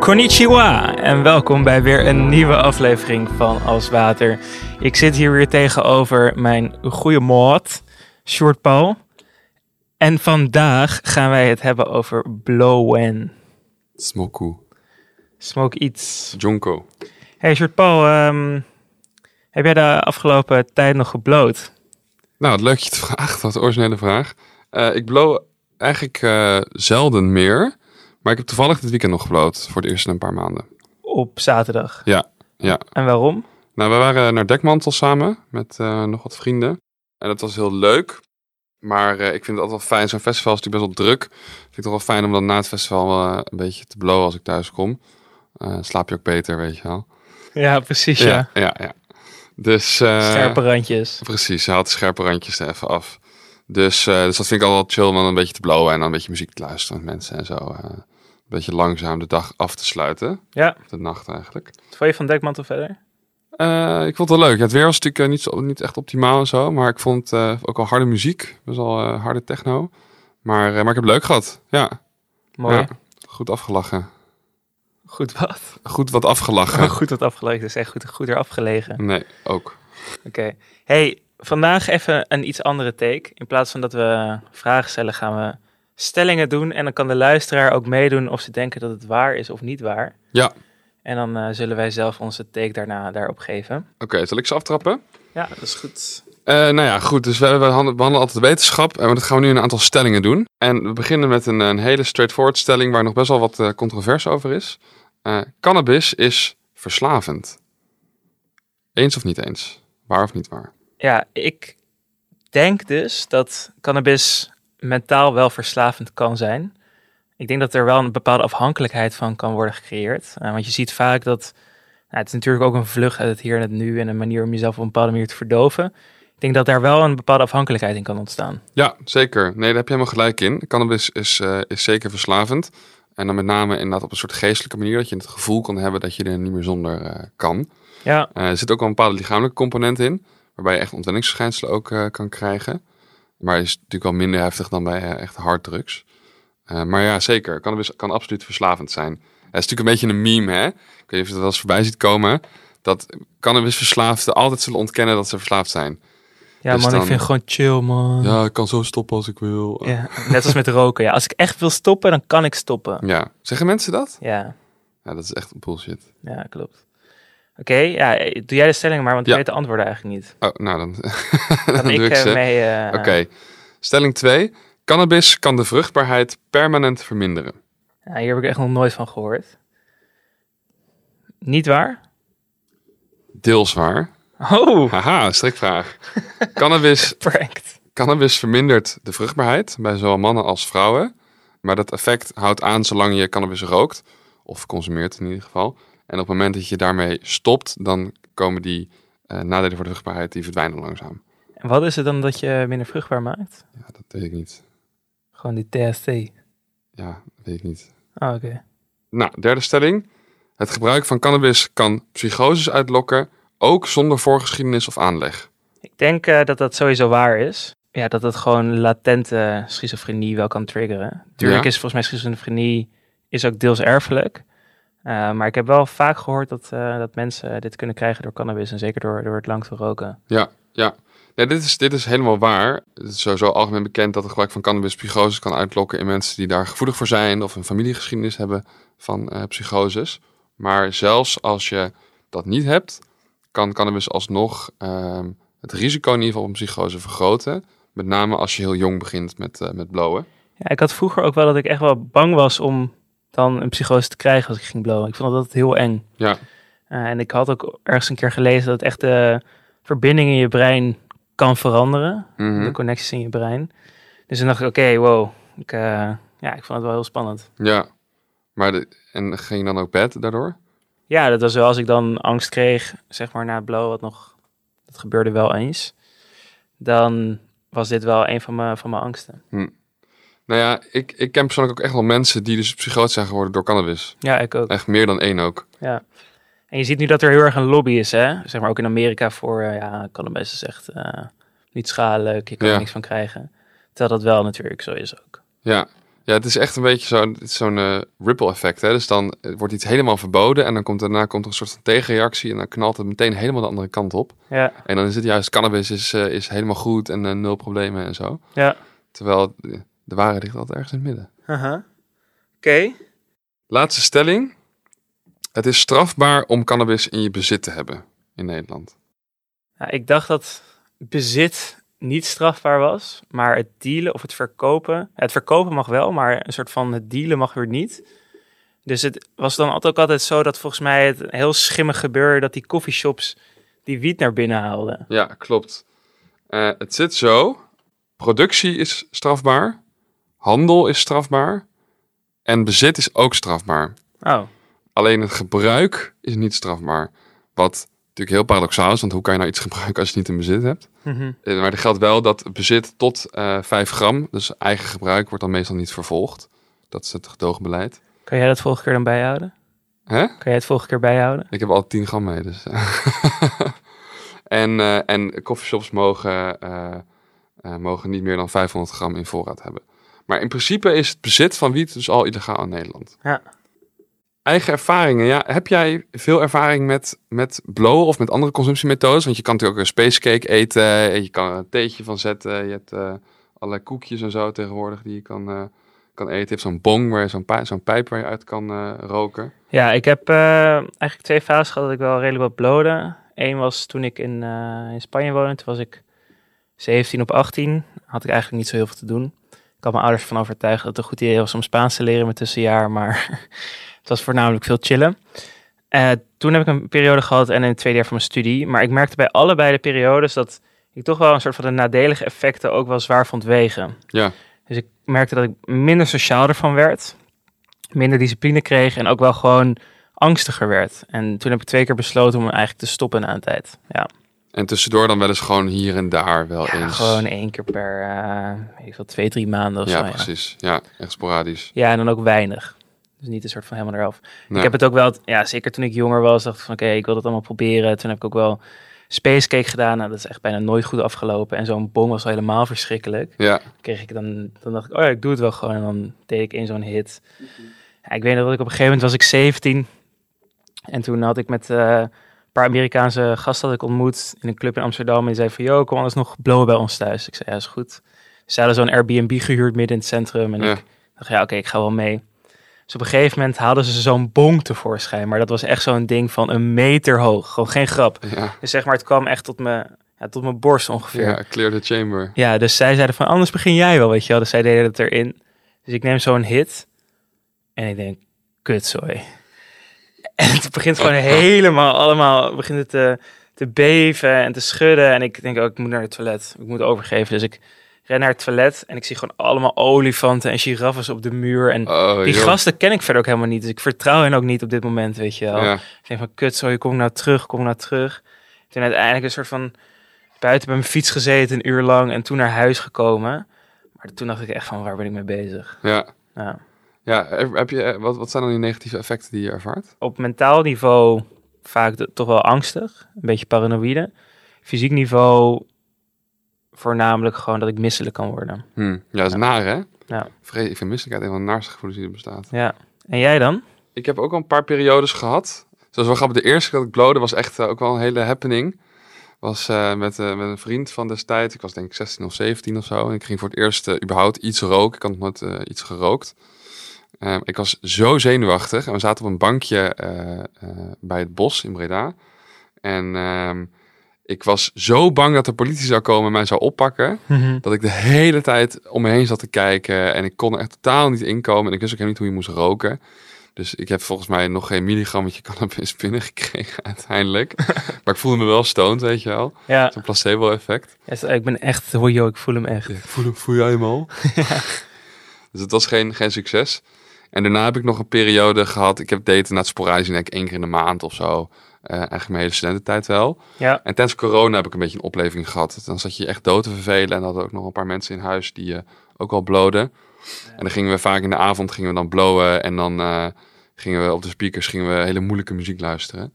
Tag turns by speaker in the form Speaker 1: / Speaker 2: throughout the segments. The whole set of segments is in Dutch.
Speaker 1: Konnichiwa en welkom bij weer een nieuwe aflevering van Als Water. Ik zit hier weer tegenover mijn goede maat, Short Paul. En vandaag gaan wij het hebben over blowen.
Speaker 2: Smoku.
Speaker 1: Smoke iets.
Speaker 2: Jonko.
Speaker 1: Hey Short Paul, ehm, heb jij de afgelopen tijd nog gebloot?
Speaker 2: Nou, wat leuk dat je het vraagt, wat originele vraag. Eh, ik blow eigenlijk eh, zelden meer, maar ik heb toevallig dit weekend nog geblowt voor het eerst in een paar maanden.
Speaker 1: Op zaterdag.
Speaker 2: Ja, ja.
Speaker 1: En waarom?
Speaker 2: Nou, we waren naar Dekmantel samen met eh, nog wat vrienden en dat was heel leuk. Maar eh, ik vind het altijd wel fijn, zo'n festival is natuurlijk best wel druk. vind ik het toch wel fijn om dan na het festival eh, een beetje te blowen als ik thuis kom. Eh, slaap je ook beter, weet je wel.
Speaker 1: Ja, precies
Speaker 2: ja. ja, ja. Dus, eh,
Speaker 1: Scherpe randjes.
Speaker 2: Precies, ze haalt de scherpe randjes er even af. Dus, eh, dus dat vind ik altijd wel chill om dan een beetje te blowen en dan een beetje muziek te luisteren met mensen en zo. eh, een beetje langzaam de dag af te sluiten.
Speaker 1: Ja,
Speaker 2: De nacht eigenlijk.
Speaker 1: wat vond je van Dekmantel verder?
Speaker 2: Eh, ik vond het wel leuk. Ja, het weer was natuurlijk eh, niet, zo, niet echt optimaal en zo. Maar ik vond eh, ook wel harde muziek. Best wel eh, harde techno. Maar, eh, maar ik heb het leuk gehad. Ja.
Speaker 1: Mooi.
Speaker 2: Ja. Goed afgelachen.
Speaker 1: Goed wat?
Speaker 2: Goed wat afgelachen.
Speaker 1: Goed wat afgelegen, dus echt goed, goed eraf gelegen.
Speaker 2: Nee, ook.
Speaker 1: Oké. Hey, vandaag even een iets andere take. In plaats van dat we vragen stellen, gaan we stellingen doen. En dan kan de luisteraar ook meedoen of ze denken dat het waar is of niet waar.
Speaker 2: Ja.
Speaker 1: En dan eh, zullen wij zelf onze take daarna daarop geven.
Speaker 2: Oké, zal ik ze aftrappen?
Speaker 1: Ja, dat is goed.
Speaker 2: Eh, nou ja, goed. Dus we hebben- we handen- behandelen altijd wetenschap. En dat gaan we nu een aantal stellingen doen. En we beginnen met een, een hele straightforward stelling waar nog best wel wat eh controverse over is. Eh, cannabis is verslavend. Eens of niet eens? Waar of niet waar?
Speaker 1: Ja, ik denk dus dat cannabis mentaal wel verslavend kan zijn. Ik denk dat er wel een bepaalde afhankelijkheid van kan worden gecreëerd. Eh, want je ziet vaak dat. nou, het is natuurlijk ook een vlucht uit het hier en het nu en een manier om jezelf op een bepaalde manier te verdoven. Ik denk dat daar wel een bepaalde afhankelijkheid in kan ontstaan.
Speaker 2: Ja, zeker. Nee, daar heb je helemaal gelijk in. Cannabis is, eh, is zeker verslavend. En dan met name inderdaad op een soort geestelijke manier. Dat je het gevoel kan hebben dat je er niet meer zonder eh, kan.
Speaker 1: Ja,
Speaker 2: Eh, er zit ook wel een bepaalde lichamelijke component in, waarbij je echt ontwenningsverschijnselen ook eh, kan krijgen. Maar is natuurlijk wel minder heftig dan bij eh, echt harddrugs. Eh, maar ja, zeker. Cannabis kan absoluut verslavend zijn. Eh, het is natuurlijk een beetje een meme, hè? Ik weet niet of je dat wel eens voorbij ziet komen. Dat cannabisverslaafden altijd zullen ontkennen dat ze verslaafd zijn.
Speaker 1: ja
Speaker 2: Dus
Speaker 1: man, ik
Speaker 2: dan-
Speaker 1: vind gewoon chill, man. Ja.
Speaker 2: ik kan zo stoppen als ik wil. Ja.
Speaker 1: net als met roken. Ja, als ik echt wil stoppen, dan kan ik stoppen.
Speaker 2: Zeggen mensen dat?
Speaker 1: Ja,
Speaker 2: Ja, dat is echt bullshit.
Speaker 1: ja klopt. Oké, ja, eh, doe jij de stellingen maar, want
Speaker 2: Ja.
Speaker 1: ik weet de antwoorden eigenlijk niet.
Speaker 2: Oh, nou dan,
Speaker 1: Kan
Speaker 2: dan
Speaker 1: ik,
Speaker 2: doe ik
Speaker 1: eh,
Speaker 2: ze.
Speaker 1: mee... eh,
Speaker 2: Oké, stelling 2. Cannabis kan de vruchtbaarheid permanent verminderen.
Speaker 1: Ja, nou, hier heb ik echt nog nooit van gehoord. Niet waar?
Speaker 2: Deels waar.
Speaker 1: Oh,
Speaker 2: Haha, strikvraag. Cannabis,
Speaker 1: prankt.
Speaker 2: cannabis vermindert de vruchtbaarheid bij zowel mannen als vrouwen. Maar dat effect houdt aan zolang je cannabis rookt. Of consumeert in ieder geval. En op het moment dat je daarmee stopt, dan komen die eh, nadelen voor de vruchtbaarheid, die verdwijnen langzaam.
Speaker 1: En wat is het dan dat je minder vruchtbaar maakt?
Speaker 2: Ja, dat weet ik niet.
Speaker 1: Gewoon die THC.
Speaker 2: Ja, dat weet ik niet.
Speaker 1: Oh, oké.
Speaker 2: Nou, derde stelling. Het gebruik van cannabis kan psychoses uitlokken, ook zonder voorgeschiedenis of aanleg.
Speaker 1: Ik denk eh, dat dat sowieso waar is. Ja, dat het gewoon latente schizofrenie wel kan triggeren. Tuurlijk
Speaker 2: Ja.
Speaker 1: is volgens mij schizofrenie is ook deels erfelijk. Eh, maar ik heb wel vaak gehoord dat, eh, dat mensen dit kunnen krijgen door cannabis. En zeker door, door het lang te roken.
Speaker 2: Ja, ja. Nee, dit, is, dit is helemaal waar. Het is sowieso algemeen bekend dat het gebruik van cannabis psychoses kan uitlokken in mensen die daar gevoelig voor zijn of een familiegeschiedenis hebben van eh, psychoses. Maar zelfs als je dat niet hebt, kan cannabis alsnog ehm, het risico in ieder geval op een psychose vergroten. Met name als je heel jong begint met, eh, met blowen.
Speaker 1: Ja, ik had vroeger ook wel dat ik echt wel bang was om dan een psychose te krijgen als ik ging blowen. Ik vond dat altijd heel eng.
Speaker 2: Ja,
Speaker 1: Eh, en ik had ook ergens een keer gelezen dat echt de verbinding in je brein kan veranderen.
Speaker 2: mhm.
Speaker 1: De connecties in je brein. Dus toen dacht ik, oké, wow. Ik, eh, ja, ik vond het wel heel spannend.
Speaker 2: ja. Maar de, en ging je dan ook bed daardoor?
Speaker 1: Ja, dat was wel als ik dan angst kreeg, zeg maar na het blow, wat nog, dat gebeurde wel eens. Dan was dit wel een van mijn, van mijn angsten.
Speaker 2: Nou ja, ik, ik ken persoonlijk ook echt wel mensen die dus psychoot zijn geworden door cannabis.
Speaker 1: Ja, ik ook.
Speaker 2: Echt meer dan één ook.
Speaker 1: Ja. En je ziet nu dat er heel erg een lobby is, hè? Zeg maar ook in Amerika voor, eh, ja, cannabis is echt eh, niet schadelijk, je kan er
Speaker 2: Ja.
Speaker 1: niks van krijgen. Terwijl dat wel natuurlijk zo is ook.
Speaker 2: Ja, Ja, het is echt een beetje zo- het is zo'n eh, ripple effect. Hè? Dus dan eh, wordt iets helemaal verboden en dan komt daarna komt er een soort van tegenreactie en dan knalt het meteen helemaal de andere kant op.
Speaker 1: Ja,
Speaker 2: En dan is het juist cannabis is, eh, is helemaal goed en eh, nul problemen en zo.
Speaker 1: ja.
Speaker 2: Terwijl eh, de waarheid ligt altijd ergens in het midden.
Speaker 1: Haha. Uh-huh. Oké.
Speaker 2: Laatste stelling. Het is strafbaar om cannabis in je bezit te hebben in Nederland.
Speaker 1: Nou, ik dacht dat bezit niet strafbaar was, maar het dealen of het verkopen. Het verkopen mag wel, maar een soort van het dealen mag weer niet. Dus het was dan altijd ook altijd zo dat volgens mij het heel schimmig gebeurde dat die coffeeshops die wiet naar binnen haalden.
Speaker 2: Ja, klopt. Eh, het zit zo. Productie is strafbaar. Handel is strafbaar. En bezit is ook strafbaar.
Speaker 1: Oh,
Speaker 2: Alleen het gebruik is niet strafbaar. Wat natuurlijk heel paradoxaal is, want hoe kan je nou iets gebruiken als je het niet in bezit hebt?
Speaker 1: mhm.
Speaker 2: Eh, Maar er geldt wel dat bezit tot eh 5 gram, dus eigen gebruik, wordt dan meestal niet vervolgd. Dat is het gedoogbeleid.
Speaker 1: kan jij dat volgende keer dan bijhouden?
Speaker 2: Hè?
Speaker 1: Kan jij het volgende keer bijhouden?
Speaker 2: Ik heb al 10 gram mee, dus. en, eh, en coffeeshops mogen, eh, eh, mogen niet meer dan 500 gram in voorraad hebben. Maar in principe is het bezit van wiet dus al illegaal in Nederland.
Speaker 1: Ja.
Speaker 2: Eigen ervaringen. Ja, heb jij veel ervaring met, met blow of met andere consumptiemethodes? Want je kan natuurlijk ook een spacecake eten. en Je kan er een theetje van zetten. Je hebt eh, allerlei koekjes en zo tegenwoordig die je kan, eh, kan eten. Je hebt zo'n bong, waar je zo'n, pij- zo'n pijp waar je uit kan eh, roken.
Speaker 1: Ja, ik heb eh, eigenlijk twee fases gehad dat ik wel redelijk wat blode. Eén was toen ik in, eh, in Spanje woonde. Toen was ik 17 op 18. Had ik eigenlijk niet zo heel veel te doen. Ik had mijn ouders van overtuigd dat het een goed idee was om Spaans te leren in mijn tussenjaar. Maar het was voornamelijk veel chillen. Eh, toen heb ik een periode gehad en een tweede jaar van mijn studie. Maar ik merkte bij allebei de periodes dat ik toch wel een soort van de nadelige effecten ook wel zwaar vond wegen.
Speaker 2: Ja.
Speaker 1: Dus ik merkte dat ik minder sociaal ervan werd. Minder discipline kreeg en ook wel gewoon angstiger werd. En toen heb ik twee keer besloten om eigenlijk te stoppen na een tijd. Ja.
Speaker 2: En tussendoor dan wel eens gewoon hier en daar wel
Speaker 1: Ja,
Speaker 2: eens.
Speaker 1: gewoon één keer per, eh, weet ik veel, twee, drie maanden of
Speaker 2: ja,
Speaker 1: zo. Ja.
Speaker 2: precies. Ja, echt sporadisch.
Speaker 1: ja, en dan ook weinig. Dus niet een soort van helemaal eraf.
Speaker 2: Nee.
Speaker 1: Ik heb het ook wel, ja, zeker toen ik jonger was, dacht ik van oké, ik wil dat allemaal proberen. Toen heb ik ook wel spacecake gedaan. Nou, dat is echt bijna nooit goed afgelopen. En zo'n bong was al helemaal verschrikkelijk.
Speaker 2: Ja,
Speaker 1: Kreeg ik dan, dan dacht ik, oh ja, ik doe het wel gewoon. En dan deed ik één zo'n hit. Ja, ik weet nog dat ik op een gegeven moment was ik 17. En toen had ik met eh, een paar Amerikaanse gasten had ik ontmoet in een club in Amsterdam. En die zei van, yo, kom alles nog blowen bij ons thuis. Ik zei, ja, is goed. Ze hadden zo'n Airbnb gehuurd midden in het centrum. En
Speaker 2: Ja.
Speaker 1: ik dacht, ja, oké, ik ga wel mee. Dus op een gegeven moment haalden ze zo'n bong tevoorschijn. Maar dat was echt zo'n ding van een meter hoog. Gewoon geen grap.
Speaker 2: ja.
Speaker 1: Dus zeg maar, het kwam echt tot mijn, ja, tot mijn borst ongeveer.
Speaker 2: ja clear the chamber.
Speaker 1: Ja, dus zij zeiden van, anders begin jij wel, weet je wel. Dus zij deden het erin. Dus ik neem zo'n hit en ik denk, kutzooi. En het begint gewoon helemaal allemaal, begint het te, te beven en te schudden. En ik denk, ook ik moet naar het toilet. Ik moet overgeven. Dus ik ren naar het toilet en ik zie gewoon allemaal olifanten en giraffes op de muur. En
Speaker 2: Oh,
Speaker 1: die
Speaker 2: joh.
Speaker 1: gasten ken ik verder ook helemaal niet. Dus ik vertrouw hen ook niet op dit moment, weet je wel.
Speaker 2: Ja,
Speaker 1: Ik denk van, kut, sorry, kom ik nou terug, kom ik nou terug. Toen uiteindelijk een soort van buiten bij mijn fiets gezeten, een uur lang. En toen naar huis gekomen. Maar toen dacht ik echt van, waar ben ik mee bezig? Nou,
Speaker 2: ja.
Speaker 1: Ja.
Speaker 2: ja heb heb je, eh, wat, wat zijn dan die negatieve effecten die je ervaart?
Speaker 1: Op mentaal niveau vaak de- toch wel angstig. Een beetje paranoïde. Fysiek niveau voornamelijk gewoon dat ik misselijk kan worden.
Speaker 2: Hm. Ja, dat is naar, hè?
Speaker 1: Ja.
Speaker 2: Vrees, ik vind misselijkheid een van de naarste gevoelens die er bestaat.
Speaker 1: Ja. En jij dan?
Speaker 2: Ik heb ook al een paar periodes gehad. Zoals wel grappig, de eerste keer dat ik blode was echt eh, ook wel een hele happening. Was eh, met, eh, met een vriend van destijds. Ik was denk ik 16 of 17 of zo. En ik ging voor het eerst eh, überhaupt iets roken. Ik had nog nooit eh, iets gerookt. Ehm, ik was zo zenuwachtig. En we zaten op een bankje eh, eh, bij het bos in Breda. En ehm, ik was zo bang dat de politie zou komen en mij zou oppakken. Dat ik de hele tijd om me heen zat te kijken. En ik kon er echt totaal niet inkomen. En ik wist ook helemaal niet hoe je moest roken. Dus ik heb volgens mij nog geen milligrammetje cannabis binnengekregen uiteindelijk. maar ik voelde me wel stoned, weet je wel.
Speaker 1: Ja,
Speaker 2: Zo'n placebo-effect.
Speaker 1: Ja, ik ben echt, hoor joh, ik voel hem echt.
Speaker 2: Ja, ik voel, voel jij hem al? Dus het was geen, geen succes. En daarna heb ik nog een periode gehad. Ik heb daten na het sporadisch, denk ik, één keer in de maand of zo. Eh, eigenlijk mijn hele studententijd wel.
Speaker 1: Ja,
Speaker 2: En tijdens corona heb ik een beetje een opleving gehad. Dan zat je je echt dood te vervelen. En hadden ook nog een paar mensen in huis die eh, ook al bloden. En dan gingen we vaak in de avond gingen we dan blowen. En dan eh, gingen we op de speakers gingen we hele moeilijke muziek luisteren.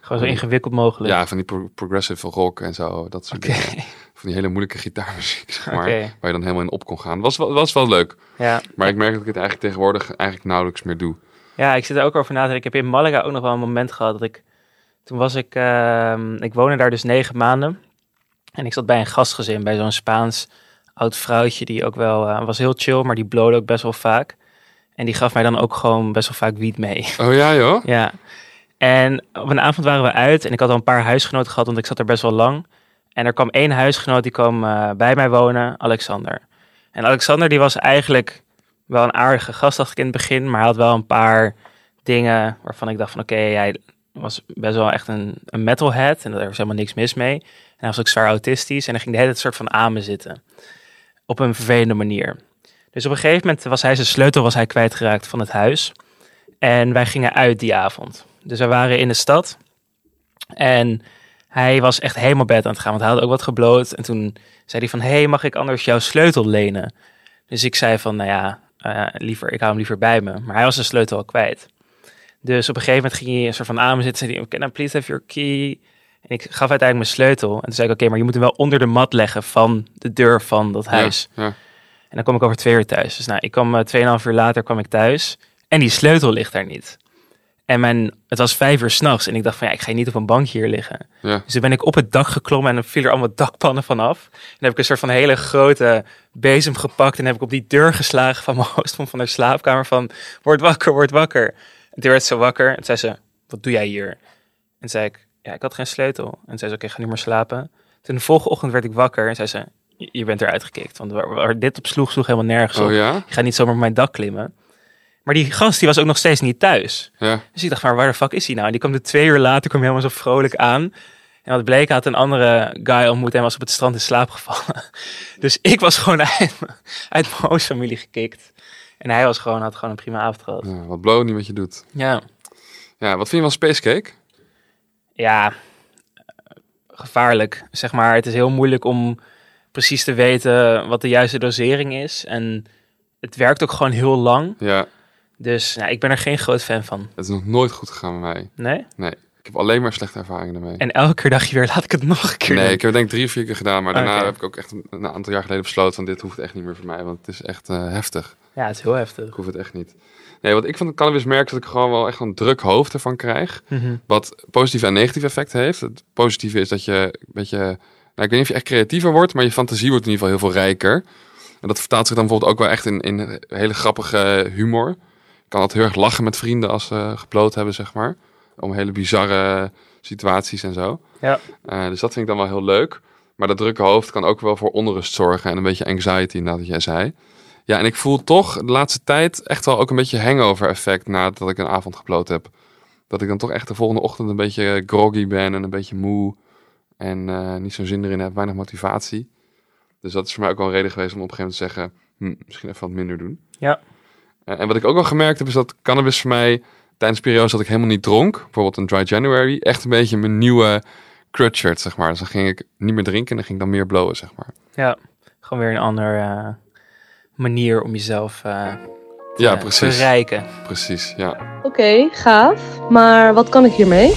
Speaker 1: Gewoon zo ingewikkeld mogelijk.
Speaker 2: Ja, van die pro- progressive rock en zo. Dat soort
Speaker 1: Oké.
Speaker 2: dingen. Van die hele moeilijke gitaarmuziek, zeg maar.
Speaker 1: Oké.
Speaker 2: Waar je dan helemaal in op kon gaan. Was, wel- was wel leuk.
Speaker 1: Ja.
Speaker 2: Maar ik merk dat ik het eigenlijk tegenwoordig eigenlijk nauwelijks meer doe.
Speaker 1: ja, ik zit er ook over na te denken. Ik heb in Malaga ook nog wel een moment gehad dat ik... Toen was ik... ehm, ik woonde daar dus negen maanden. En ik zat bij een gastgezin, bij zo'n Spaans oud vrouwtje. Die ook wel... eh, was heel chill, maar die blode ook best wel vaak. En die gaf mij dan ook gewoon best wel vaak wiet mee.
Speaker 2: Oh ja, joh?
Speaker 1: Ja. En op een avond waren we uit en ik had al een paar huisgenoten gehad, want ik zat er best wel lang. En er kwam één huisgenoot die kwam eh, bij mij wonen, Alexander. En Alexander die was eigenlijk wel een aardige gast, dacht ik in het begin, maar hij had wel een paar dingen waarvan ik dacht van oké, hij was best wel echt een, een metalhead en daar was helemaal niks mis mee. En hij was ook zwaar autistisch en hij ging de hele tijd soort van aan me zitten. Op een vervelende manier. Dus op een gegeven moment was hij zijn sleutel was hij kwijtgeraakt van het huis. En wij gingen uit die avond. Dus we waren in de stad. En hij was echt helemaal bed aan het gaan, want hij had ook wat gebloot. En toen zei hij van, hey, mag ik anders jouw sleutel lenen? Dus ik zei van, nou ja, eh, liever, ik hou hem liever bij me. Maar hij was zijn sleutel al kwijt. Dus op een gegeven moment ging hij een soort van aan me zitten. Zei hij, can I please have your key? En ik gaf uiteindelijk mijn sleutel. En toen zei ik, oké, maar je moet hem wel onder de mat leggen van de deur van dat huis.
Speaker 2: Ja, ja.
Speaker 1: En dan kom ik over twee uur thuis. Dus nou, ik kwam eh, tweeënhalf uur later kwam ik thuis. En die sleutel ligt daar niet. En mijn, het was vijf uur s'nachts. En ik dacht van ja, ik ga hier niet op een bankje hier liggen.
Speaker 2: Ja.
Speaker 1: Dus toen ben ik op het dak geklommen en dan viel er allemaal dakpannen vanaf. En dan heb ik een soort van hele grote bezem gepakt. En heb ik op die deur geslagen van mijn host van haar slaapkamer. Van word wakker, word wakker. En toen werd ze wakker. En toen zei ze, wat doe jij hier? En toen zei ik, ja, ik had geen sleutel. En toen zei ze, oké, ga nu maar slapen. Toen de volgende ochtend werd ik wakker en zei ze, je je bent eruit gekikt. Want waar, waar dit op sloeg, sloeg helemaal nergens op.
Speaker 2: Oh ja?
Speaker 1: Ik ga niet zomaar op mijn dak klimmen. Maar die gast die was ook nog steeds niet thuis.
Speaker 2: Ja.
Speaker 1: Dus ik dacht, maar waar de fuck is hij nou? En die kwam er twee uur later, kwam helemaal zo vrolijk aan. En wat bleek, hij had een andere guy ontmoet en was op het strand in slaap gevallen. Dus ik was gewoon uit, mijn- uit mijn hoofdfamilie gekikt. En hij was gewoon, had gewoon een prima avond gehad.
Speaker 2: Ja, Nou, wat blow niet wat je doet.
Speaker 1: Ja,
Speaker 2: Ja, wat vind je van Spacecake?
Speaker 1: ja eh, gevaarlijk. Zeg maar, het is heel moeilijk om precies te weten wat de juiste dosering is. En het werkt ook gewoon heel lang.
Speaker 2: Ja,
Speaker 1: Dus nou, ik ben er geen groot fan van.
Speaker 2: het is nog nooit goed gegaan bij mij.
Speaker 1: Nee?
Speaker 2: Nee, ik heb alleen maar slechte ervaringen ermee.
Speaker 1: En elke keer dacht je weer, laat ik het nog een keer
Speaker 2: Nee,
Speaker 1: doen.
Speaker 2: ik heb het denk ik drie of vier keer gedaan, maar daarna
Speaker 1: Oké.
Speaker 2: heb ik ook echt een, een aantal jaar geleden besloten van dit hoeft echt niet meer voor mij, want het is echt eh, heftig.
Speaker 1: Ja, het is heel heftig.
Speaker 2: Ik hoef het echt niet. Nee, wat ik van de cannabis merk is dat ik gewoon wel echt een druk hoofd ervan krijg, wat positieve en negatieve effecten heeft. Het positieve is dat je een beetje, nou, ik weet niet of je echt creatiever wordt, maar je fantasie wordt in ieder geval heel veel rijker. En dat vertaalt zich dan bijvoorbeeld ook wel echt in, in hele grappige humor. Ik kan altijd heel erg lachen met vrienden als ze geploot hebben, zeg maar. Om hele bizarre situaties en zo.
Speaker 1: Ja.
Speaker 2: Eh, dus dat vind ik dan wel heel leuk. Maar dat drukke hoofd kan ook wel voor onrust zorgen en een beetje anxiety, inderdaad, wat jij zei. Ja, en ik voel toch de laatste tijd echt wel ook een beetje hangover effect nadat ik een avond geploot heb. Dat ik dan toch echt de volgende ochtend een beetje groggy ben en een beetje moe. En eh, niet zo'n zin erin heb, weinig motivatie. Dus dat is voor mij ook wel een reden geweest om op een gegeven moment te zeggen, hm, misschien even wat minder doen.
Speaker 1: Ja.
Speaker 2: Eh, en wat ik ook wel gemerkt heb, is dat cannabis voor mij tijdens periodes dat ik helemaal niet dronk, bijvoorbeeld een dry January, echt een beetje mijn nieuwe crutch shirt, zeg maar. Dus dan ging ik niet meer drinken en dan ging ik dan meer blowen, zeg maar.
Speaker 1: Ja, gewoon weer een andere eh, manier om jezelf eh, te-
Speaker 2: Ja,
Speaker 1: te
Speaker 2: precies.
Speaker 1: verrijken.
Speaker 2: Precies, ja.
Speaker 3: Oké, gaaf. Maar wat kan ik hiermee?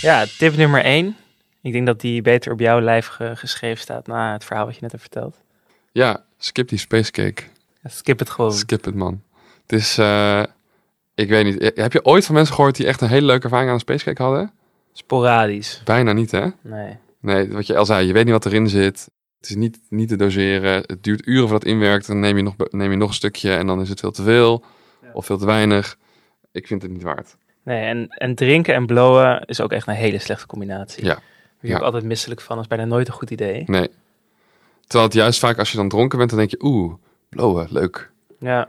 Speaker 1: Ja, tip nummer één. Ik denk dat die beter op jouw lijf ge- geschreven staat na het verhaal wat je net hebt verteld.
Speaker 2: Ja, skip die spacecake.
Speaker 1: Skip het gewoon.
Speaker 2: Skip het, man. Het is, eh, ik weet niet, Eh, heb je ooit van mensen gehoord die echt een hele leuke ervaring aan een spacecake hadden?
Speaker 1: Sporadisch.
Speaker 2: Bijna niet, hè?
Speaker 1: Nee.
Speaker 2: Nee, wat je al zei, je weet niet wat erin zit. Het is niet, niet te doseren. Het duurt uren voordat het inwerkt. Dan neem je, nog, neem je nog een stukje en dan is het veel te veel of veel te weinig. Ik vind het niet waard.
Speaker 1: Nee, en, en drinken en blowen is ook echt een hele slechte combinatie.
Speaker 2: Ja.
Speaker 1: Daar ben ik
Speaker 2: Ja.
Speaker 1: altijd misselijk van, is bijna nooit een goed idee.
Speaker 2: Nee. Terwijl het juist vaak als je dan dronken bent, dan denk je, oeh, blowen, leuk.
Speaker 1: Ja.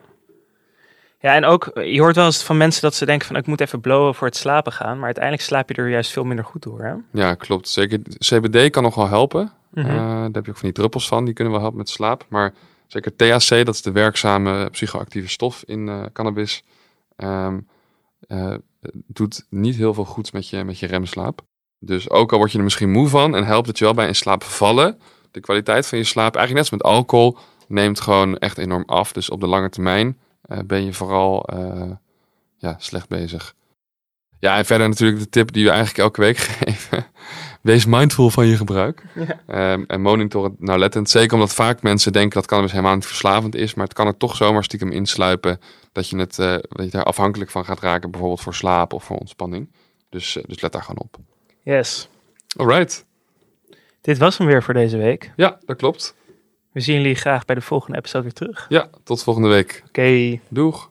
Speaker 1: Ja, en ook, eh, je hoort wel eens van mensen dat ze denken van ik moet even blowen voor het slapen gaan. Maar uiteindelijk slaap je er juist veel minder goed door, hè?
Speaker 2: Ja, klopt. Zeker. CBD kan nog wel helpen.
Speaker 1: Mhm.
Speaker 2: Eh, daar heb je ook van die druppels van. Die kunnen wel helpen met slaap. Maar zeker THC, dat is de werkzame eh, psychoactieve stof in eh, cannabis. ehm, eh, doet niet heel veel goeds met je, met je remslaap. Dus ook al word je er misschien moe van en helpt het je wel bij in slaap vallen. De kwaliteit van je slaap, eigenlijk net als met alcohol, neemt gewoon echt enorm af. Dus op de lange termijn eh, ben je vooral eh, ja, slecht bezig. Ja, en verder natuurlijk de tip die we eigenlijk elke week geven. Wees mindful van je gebruik. Ehm, en monitor het nauwlettend. Zeker omdat vaak mensen denken dat cannabis helemaal niet verslavend is. Maar het kan er toch zomaar stiekem insluipen dat je, het, eh, dat je daar afhankelijk van gaat raken. Bijvoorbeeld voor slaap of voor ontspanning. Dus, eh, dus let daar gewoon op.
Speaker 1: Yes.
Speaker 2: Alright.
Speaker 1: Dit was hem weer voor deze week.
Speaker 2: Ja, dat klopt.
Speaker 1: We zien jullie graag bij de volgende episode weer terug. Oké,
Speaker 2: Ja, tot volgende week. Doeg.